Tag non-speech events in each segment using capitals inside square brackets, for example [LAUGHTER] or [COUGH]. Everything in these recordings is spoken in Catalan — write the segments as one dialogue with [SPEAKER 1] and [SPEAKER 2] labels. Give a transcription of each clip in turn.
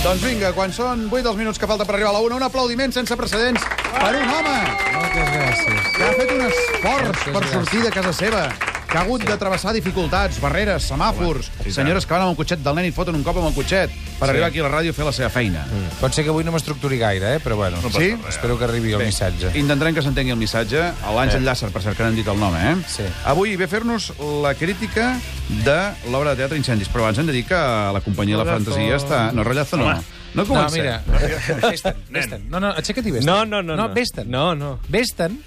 [SPEAKER 1] Doncs Vinga, quan són 8 els minuts que falta per arribar a la 1, un aplaudiment sense precedents per un home
[SPEAKER 2] Moltes gràcies.
[SPEAKER 1] que ha fet un esforç per sortir de casa seva que ha hagut de travessar dificultats, barreres, semàfors,
[SPEAKER 3] i tant.
[SPEAKER 1] senyores que van amb el cotxet del nen i et foten un cop amb el cotxet per
[SPEAKER 2] Sí.
[SPEAKER 1] arribar aquí a la ràdio a fer la seva feina.
[SPEAKER 2] Pot ser que avui no m'estructuri gaire, eh? però bueno.
[SPEAKER 1] passa Sí?
[SPEAKER 3] res.
[SPEAKER 2] Espero que arribi el missatge. Eh.
[SPEAKER 1] Intentarem que s'entengui el missatge. A L'Àngel Llàcer, per cert, que n'han dit el nom, eh?
[SPEAKER 2] Sí.
[SPEAKER 1] Avui ve a fer-nos la crítica de l'obra de teatre Incendis, però abans hem de dir que la companyia de la
[SPEAKER 4] Rollazo.
[SPEAKER 1] fantasia està... No, Rollazo no.
[SPEAKER 3] Home.
[SPEAKER 1] No
[SPEAKER 2] No,
[SPEAKER 1] comencem.
[SPEAKER 2] mira, [LAUGHS] vés-te'n, vés-te'n. No, no, aixeca't i vés-te'n.
[SPEAKER 4] No, no, no.
[SPEAKER 2] No, vés-te'n.
[SPEAKER 4] No, no.
[SPEAKER 2] Vés-te'n.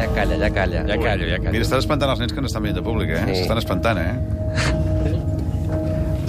[SPEAKER 5] Ja calla, ja calla. Ja calla, ja
[SPEAKER 1] Mira, estan espantant els nens que no estan veient de públic, eh?
[SPEAKER 5] Sí.
[SPEAKER 1] S'estan espantant, eh?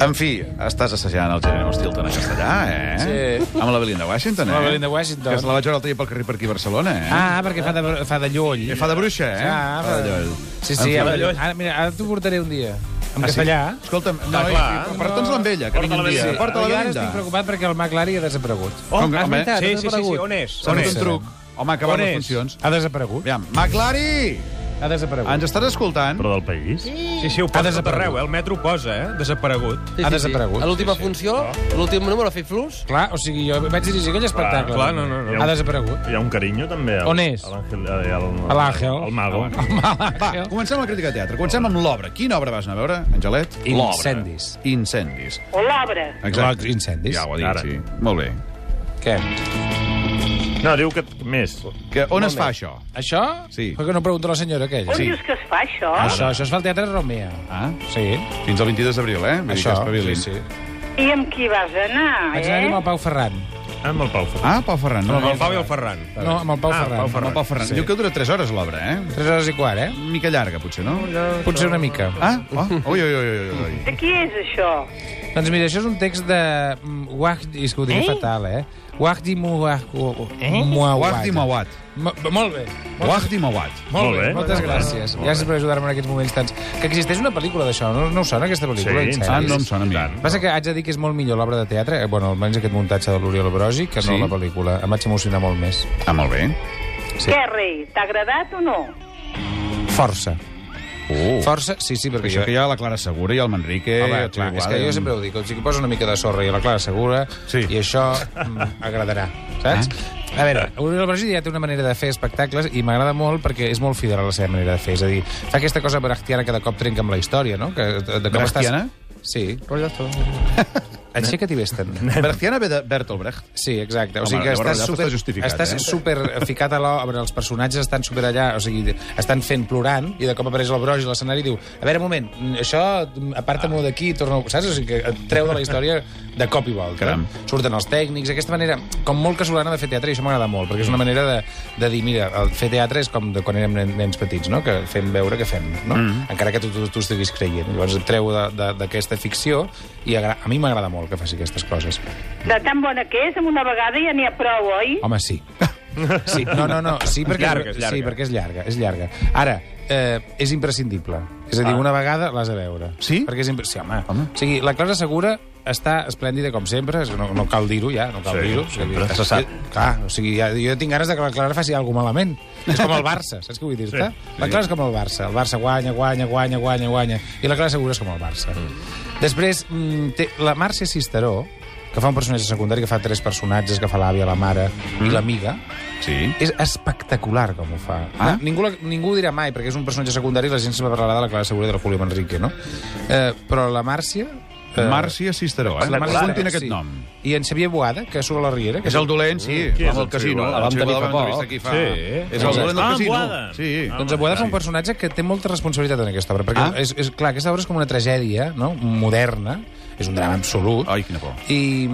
[SPEAKER 1] En fi, estàs assajant el Jeremy Stilton en castellà, eh?
[SPEAKER 2] Sí.
[SPEAKER 1] Amb la Belinda Washington, eh?
[SPEAKER 2] Amb la Belinda Washington.
[SPEAKER 1] Que se la vaig veure l'altre dia pel carrer per aquí a Barcelona, eh?
[SPEAKER 2] Ah, perquè fa de, fa de lloll.
[SPEAKER 1] Que fa de bruixa, eh?
[SPEAKER 2] Ah,
[SPEAKER 1] fa de
[SPEAKER 2] va.
[SPEAKER 1] lloll.
[SPEAKER 2] Sí,
[SPEAKER 1] En
[SPEAKER 2] sí,
[SPEAKER 1] fi,
[SPEAKER 2] ara, ara, mira, ara t'ho portaré un dia. En
[SPEAKER 1] Ah, sí?
[SPEAKER 2] castellà.
[SPEAKER 1] Escolta'm, no, ah,
[SPEAKER 3] clar.
[SPEAKER 1] clar, porta'ns-la amb ella, que
[SPEAKER 3] Porta-la
[SPEAKER 1] vingui un
[SPEAKER 3] amb
[SPEAKER 1] dia.
[SPEAKER 3] ella.
[SPEAKER 1] Porta-la
[SPEAKER 2] jo
[SPEAKER 1] a la
[SPEAKER 2] ara estic
[SPEAKER 1] Belinda.
[SPEAKER 2] preocupat perquè el Mac Lari ha desaparegut.
[SPEAKER 1] Com que- home,
[SPEAKER 4] Sí, sí, sí, sí, on és?
[SPEAKER 1] S'ha
[SPEAKER 4] On
[SPEAKER 1] fet
[SPEAKER 4] és?
[SPEAKER 1] un truc. Home, ha acabat
[SPEAKER 4] On és?
[SPEAKER 1] les funcions.
[SPEAKER 2] Ha desaparegut.
[SPEAKER 1] Aviam, McLari,
[SPEAKER 2] Ha desaparegut.
[SPEAKER 1] ens estàs escoltant?
[SPEAKER 3] Però del país?
[SPEAKER 4] Sí, sí, ho
[SPEAKER 2] Ha
[SPEAKER 4] posa a tot
[SPEAKER 2] desaparegut.
[SPEAKER 4] arreu, eh? El metro ho posa, eh? Desaparegut.
[SPEAKER 2] ha desaparegut.
[SPEAKER 5] A l'última funció, l'últim número ha fet flux.
[SPEAKER 2] Clar, o sigui, jo vaig dirigir aquell espectacle.
[SPEAKER 4] clar, no, no, no.
[SPEAKER 2] Ha desaparegut.
[SPEAKER 3] Hi ha un carinyo, també. Al,
[SPEAKER 2] On és?
[SPEAKER 3] a l'Àngel- eh, al-
[SPEAKER 2] A l'Àngel.
[SPEAKER 3] Al Mago. [LAUGHS]
[SPEAKER 1] Va, comencem la crítica de teatre. Comencem amb l'obra. Quina obra vas anar a veure, Angelet?
[SPEAKER 3] L'obra.
[SPEAKER 2] Incendis.
[SPEAKER 1] Incendis.
[SPEAKER 6] O l'obra.
[SPEAKER 1] Exacte.
[SPEAKER 2] Incendis.
[SPEAKER 1] Ja ho ha dit,
[SPEAKER 3] Ara.
[SPEAKER 1] sí. Molt bé.
[SPEAKER 2] Què?
[SPEAKER 3] No, diu que més. eh,
[SPEAKER 1] Que, on es fa això?
[SPEAKER 2] Això?
[SPEAKER 1] Sí.
[SPEAKER 2] Però que no pregunta la senyora aquella.
[SPEAKER 6] On
[SPEAKER 1] Sí.
[SPEAKER 6] dius que es fa, això?
[SPEAKER 2] Això, això es fa al Teatre Romea.
[SPEAKER 1] Ah,
[SPEAKER 2] Sí.
[SPEAKER 1] fins al 22 d'abril, eh? Vull dir
[SPEAKER 2] Això,
[SPEAKER 1] que espavilin.
[SPEAKER 2] sí, sí.
[SPEAKER 6] I amb qui vas anar,
[SPEAKER 2] Vaig anar-hi
[SPEAKER 6] eh?
[SPEAKER 2] amb el Pau Ferran.
[SPEAKER 3] Amb el Pau Ferrer.
[SPEAKER 1] Ah, Pau Ferran. No,
[SPEAKER 4] Amb el Pau i el Ferran.
[SPEAKER 2] No, amb el Pau
[SPEAKER 4] Ah,
[SPEAKER 2] Ferran.
[SPEAKER 4] Pau
[SPEAKER 1] Amb el Pau Ferran.
[SPEAKER 2] Sí.
[SPEAKER 1] Diu que dura 3 hores l'obra, eh?
[SPEAKER 2] 3 hores i quart, eh?
[SPEAKER 1] Mica llarga, potser, no?
[SPEAKER 2] Potser una mica.
[SPEAKER 1] Ah, oh, ui, ui, ui, ui, ui.
[SPEAKER 6] De qui és això?
[SPEAKER 2] Doncs mira, això és un text de... mm, Wahdi, és que ho diré fatal, eh? Wahdi Muawad.
[SPEAKER 1] Wahdi
[SPEAKER 2] Muawad.
[SPEAKER 1] Mawad.
[SPEAKER 2] Molt bé.
[SPEAKER 1] Wahdi Mawad.
[SPEAKER 2] Molt
[SPEAKER 3] Molt
[SPEAKER 2] bé,
[SPEAKER 3] bé.
[SPEAKER 2] moltes
[SPEAKER 3] Molt bé.
[SPEAKER 2] gràcies.
[SPEAKER 3] Molt
[SPEAKER 2] Gràcies
[SPEAKER 3] bé.
[SPEAKER 2] per ajudar-me en aquests moments tants. Que existeix una pel·lícula d'això, no, no us sona aquesta pel·lícula?
[SPEAKER 3] Sí,
[SPEAKER 2] en
[SPEAKER 3] em
[SPEAKER 1] Ah,
[SPEAKER 2] sèries?
[SPEAKER 1] no em sona a mi.
[SPEAKER 3] Tant.
[SPEAKER 2] Passa que haig de dir que és molt millor l'obra de teatre, eh, bueno, almenys aquest muntatge de l'Oriol Brosi, que no
[SPEAKER 1] Sí?
[SPEAKER 2] la pel·lícula. Em vaig emocionar molt més.
[SPEAKER 1] Ah, molt bé.
[SPEAKER 2] Sí.
[SPEAKER 6] Què, rei? T'ha agradat o no?
[SPEAKER 2] Força.
[SPEAKER 1] Oh.
[SPEAKER 2] Uh. Força, sí, sí, perquè
[SPEAKER 1] Això
[SPEAKER 2] jo...
[SPEAKER 1] que hi ha la Clara Segura i el Manrique...
[SPEAKER 2] Home,
[SPEAKER 1] el
[SPEAKER 2] clar,
[SPEAKER 1] Xavi
[SPEAKER 2] és que
[SPEAKER 1] Guada,
[SPEAKER 2] jo sempre ho dic, o sigui, posa una mica de sorra i a la Clara Segura,
[SPEAKER 1] Sí.
[SPEAKER 2] i això mm, agradarà, saps? A veure, Oriol Brasi ja té una manera de fer espectacles i m'agrada molt perquè és molt fidel a la seva manera de fer. És a dir, fa aquesta cosa brachtiana que de cop trenca amb la història, no? Que, de, de com
[SPEAKER 1] Brechtiana?
[SPEAKER 2] Estàs... Sí. Aixeca't i vés-te'n.
[SPEAKER 1] Bertiana ve de Bertolt Brecht.
[SPEAKER 2] Sí, exacte. O
[SPEAKER 1] Home,
[SPEAKER 2] sigui que
[SPEAKER 1] llavors
[SPEAKER 2] estàs
[SPEAKER 1] allà tot
[SPEAKER 2] super,
[SPEAKER 1] està justificat,
[SPEAKER 2] estàs
[SPEAKER 1] eh?
[SPEAKER 2] super ficat a l'obra, els personatges estan super allà, o sigui, estan fent plorant, i de cop apareix el broix a l'escenari i diu, a veure, un moment, això
[SPEAKER 1] Ah.
[SPEAKER 2] aparta-m'ho d'aquí i torna... Saps? O sigui, que et treu de la història de cop i volta.
[SPEAKER 1] Caram.
[SPEAKER 2] Surten els tècnics, aquesta manera, com molt casolana de fer teatre, i això m'agrada molt, perquè és una manera de, de dir, mira, el fer teatre és com de quan érem nen- nens petits, no? que fem veure que fem, no? Mm. encara que tu, tu, tu estiguis creient. Llavors et treu de- de- d'aquesta ficció i agra... a mi m'agrada molt que faci aquestes coses.
[SPEAKER 6] De tan bona que és, amb una vegada ja n'hi ha prou, oi?
[SPEAKER 2] Home, sí. Sí, [LAUGHS] no, no, no, sí perquè,
[SPEAKER 4] Llarga, és llarga.
[SPEAKER 2] Sí, perquè és llarga, és llarga. Ara, eh, és imprescindible. És a dir, una vegada l'has de veure.
[SPEAKER 1] Sí?
[SPEAKER 2] Perquè és impre... Sí, home.
[SPEAKER 1] Home.
[SPEAKER 2] home. O sigui, la Clara Segura està esplèndida com sempre, És- no, no cal dir-ho ja, no cal
[SPEAKER 3] Sí,
[SPEAKER 2] dir-ho.
[SPEAKER 3] sempre,
[SPEAKER 2] Està-
[SPEAKER 3] se sap.
[SPEAKER 2] Clar, o sigui, ja, jo tinc ganes de que la Clara faci alguna cosa malament. És com el Barça, saps què vull dir-te? Sí. La Clara és com el Barça. El Barça guanya, guanya, guanya, guanya, guanya. I la Clara Segura és com el Barça. Després, mm, té la Màrcia Cisteró, que fa un personatge secundari, que fa tres personatges, que fa l'àvia, la mare i l'amiga,
[SPEAKER 1] Sí.
[SPEAKER 2] és espectacular com ho fa.
[SPEAKER 1] Ah?
[SPEAKER 2] Ah? Ningú, la- ningú ho dirà mai, perquè és un personatge secundari i la gent sempre parlarà de la Clara Segura i del Julio Manrique, no? Eh, però la Màrcia... Eh,
[SPEAKER 1] Màrcia Cisteró, eh?
[SPEAKER 2] la Màrcia-
[SPEAKER 1] Apuntin aquest nom.
[SPEAKER 2] I en Xavier Boada, que surt a la Riera. Que
[SPEAKER 1] És el dolent, sí,
[SPEAKER 2] Mm.
[SPEAKER 3] Qui és
[SPEAKER 1] amb el
[SPEAKER 3] el
[SPEAKER 1] casino.
[SPEAKER 3] Xavier
[SPEAKER 1] El Xavier Guada
[SPEAKER 3] Guada?
[SPEAKER 5] Vam tenir fa
[SPEAKER 1] va
[SPEAKER 5] poc.
[SPEAKER 1] entrevista aquí fa...
[SPEAKER 4] Sí.
[SPEAKER 1] És el dolent del
[SPEAKER 3] Ah, en
[SPEAKER 1] casino.
[SPEAKER 3] Boada.
[SPEAKER 1] Sí.
[SPEAKER 2] Doncs Abuada fa un personatge que té molta responsabilitat en aquesta obra, perquè
[SPEAKER 1] Ah.
[SPEAKER 2] és, és, clar, aquesta obra és com una tragèdia no? moderna, és un drama absolut,
[SPEAKER 3] Ah.
[SPEAKER 1] Ai, quina por.
[SPEAKER 2] i,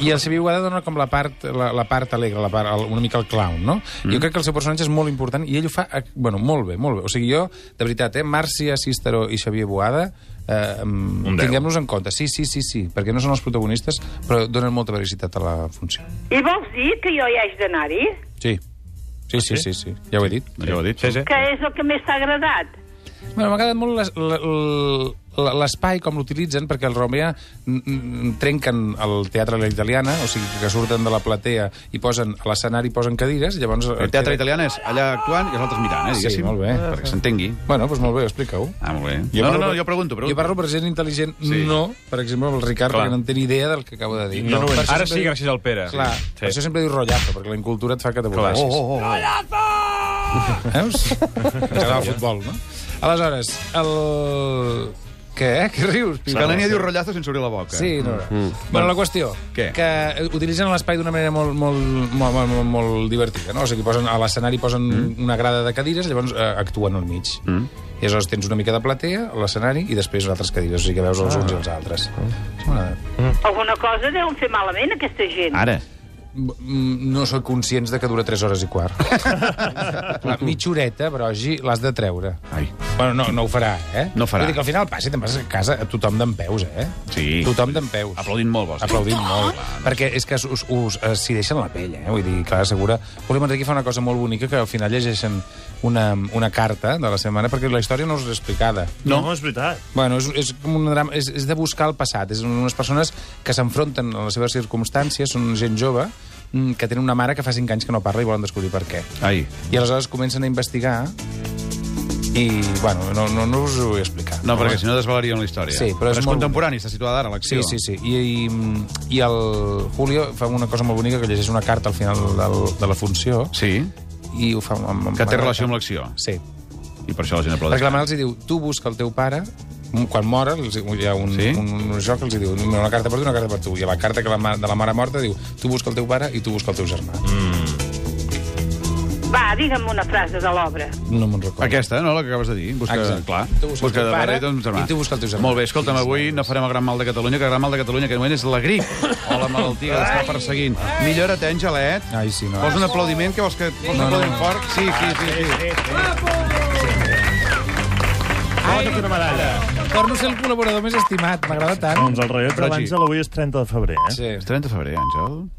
[SPEAKER 2] i el Xavier Boada dona com la part, la, la part alegre, la part, el, una mica el clown, no? Mm. Jo crec que el seu personatge és molt important i ell ho fa, eh, bueno, molt bé, molt bé. O sigui, jo, de veritat, eh, Màrcia Cisteró i Xavier Boada, eh,
[SPEAKER 3] Un deu.
[SPEAKER 2] tinguem-los en compte. Sí, sí, sí, sí, perquè no són els protagonistes, però donen molta veracitat a la funció.
[SPEAKER 6] I vols dir que jo hi haig d'anar-hi?
[SPEAKER 2] Sí. Sí, sí, sí, sí, ja ho he dit.
[SPEAKER 1] Ja ho ha dit.
[SPEAKER 4] Sí, sí.
[SPEAKER 6] Que és el que més t'ha agradat?
[SPEAKER 2] Bueno, m'ha agradat molt la, la, l- l'espai com l'utilitzen, perquè els Romea mm, mm, trenquen el teatre a la italiana, o sigui, que surten de la platea i posen a l'escenari posen cadires, i llavors...
[SPEAKER 1] El teatre italià és allà actuant i els altres mirant, eh,
[SPEAKER 2] Sí,
[SPEAKER 1] diguéssim.
[SPEAKER 2] molt bé.
[SPEAKER 1] Perquè s'entengui.
[SPEAKER 2] Bueno, doncs molt bé, explica-ho.
[SPEAKER 1] Ah, molt bé.
[SPEAKER 2] Jo
[SPEAKER 1] no, no,
[SPEAKER 2] parlo-
[SPEAKER 1] no, jo pregunto, pregunto.
[SPEAKER 2] Jo parlo per gent intel·ligent,
[SPEAKER 1] Sí.
[SPEAKER 2] no, per exemple, amb el Ricard,
[SPEAKER 1] Clar.
[SPEAKER 2] perquè no en té ni idea del que acabo de dir.
[SPEAKER 3] Jo no ho
[SPEAKER 2] Per això
[SPEAKER 4] Ara
[SPEAKER 2] sempre
[SPEAKER 4] sí,
[SPEAKER 2] dic-
[SPEAKER 4] gràcies al Pere.
[SPEAKER 2] Clar,
[SPEAKER 3] Sí.
[SPEAKER 2] per això sempre diu rotllazo, perquè la incultura et fa que t'avorreixis.
[SPEAKER 4] Clar.
[SPEAKER 2] oh, oh. Veus? [LAUGHS] T'agrada el futbol, no? Aleshores, el... Què? Què rius?
[SPEAKER 1] Que la nena diu rotllazo sense obrir la boca.
[SPEAKER 2] Sí, no. Mm. Bueno, la qüestió,
[SPEAKER 1] Què?
[SPEAKER 2] que eh, utilitzen l'espai d'una manera molt, molt, molt, molt, molt, molt divertida, no? O sigui, posen, a l'escenari posen mm. una grada de cadires, llavors eh, actuen al mig. Mm. I aleshores tens una mica de platea a l'escenari i després altres cadires, o sigui que veus els uns i els altres. Ah.
[SPEAKER 6] Alguna cosa deuen fer malament, aquesta gent.
[SPEAKER 1] Ara.
[SPEAKER 2] No sóc conscients de que dura 3 hores i
[SPEAKER 1] [LAUGHS]
[SPEAKER 2] quart. Clar, mitja horeta, brogi, l'has de treure.
[SPEAKER 1] Ai.
[SPEAKER 2] Bueno, no, no ho farà, eh?
[SPEAKER 1] No ho farà.
[SPEAKER 2] Vull dir que al final passi, te'n passes a casa a tothom d'en peus, eh?
[SPEAKER 1] Sí.
[SPEAKER 2] Tothom d'en peus.
[SPEAKER 1] Aplaudint molt, vols. dir?
[SPEAKER 2] Aplaudint molt. Perquè és que us, us, us eh, s'hi deixen la pell, eh? Vull dir, Clara Segura... Volem Enrique fa una cosa molt bonica, que al final llegeixen una, una carta de la setmana, perquè la història no us l'he explicada.
[SPEAKER 3] No, no és veritat.
[SPEAKER 2] Bueno, és, és com un drama, és, és de buscar el passat. És unes persones que s'enfronten a les seves circumstàncies, són gent jove, mm, que tenen una mare que fa 5 anys que no parla i volen descobrir per què.
[SPEAKER 1] Ai.
[SPEAKER 2] I aleshores comencen a investigar i, bueno, no, no, no us ho vull explicar.
[SPEAKER 1] No, perquè si no desvalarien la història.
[SPEAKER 2] Sí, però és
[SPEAKER 1] és
[SPEAKER 2] molt-
[SPEAKER 1] contemporani, està situada ara, a
[SPEAKER 2] Sí,
[SPEAKER 1] l'acció.
[SPEAKER 2] sí, sí. I, i, I el Julio fa una cosa molt bonica, que llegeix una carta al final del, de la funció
[SPEAKER 1] Sí,
[SPEAKER 2] i ho fa... Amb, amb,
[SPEAKER 1] que té relació amb l'acció.
[SPEAKER 2] Sí.
[SPEAKER 1] I per això la gent aplaudeix.
[SPEAKER 2] Perquè la mare els hi diu, tu busca el teu pare, m- quan mor, els, hi- hi ha un,
[SPEAKER 1] Sí?
[SPEAKER 2] sí? un, un joc que els hi diu una carta per tu, una carta per tu. I a la carta que la, ma- de la mare morta diu tu busca el teu pare i tu busca el teu germà. Mm.
[SPEAKER 6] Va, digue'm una frase de l'obra.
[SPEAKER 2] No me'n recordo.
[SPEAKER 1] Aquesta, no?, la que acabes de dir. Busca,
[SPEAKER 2] Exacte.
[SPEAKER 1] clar,
[SPEAKER 2] Tu busca el teu
[SPEAKER 1] de
[SPEAKER 2] pare
[SPEAKER 1] barret un germà.
[SPEAKER 2] i tu busca el teu germà.
[SPEAKER 1] Molt bé, escolta'm, avui no farem el gran mal de Catalunya, que el gran mal de Catalunya en aquest moment és la
[SPEAKER 2] [LAUGHS]
[SPEAKER 1] grip o la malaltia que l'està perseguint. Millora't, Angelet.
[SPEAKER 2] Ai, sí, no.
[SPEAKER 1] Vols un aplaudiment? Que vols que vols un aplaudiment fort? Sí, sí, sí. sí.
[SPEAKER 3] Ai, una medalla.
[SPEAKER 2] Torno a ser el col·laborador més estimat, m'agrada tant.
[SPEAKER 3] Doncs el rellotge
[SPEAKER 1] Rogi.
[SPEAKER 3] abans de l'avui és 30 de febrer, eh?
[SPEAKER 2] Sí.
[SPEAKER 1] És 30 de febrer, Àngel.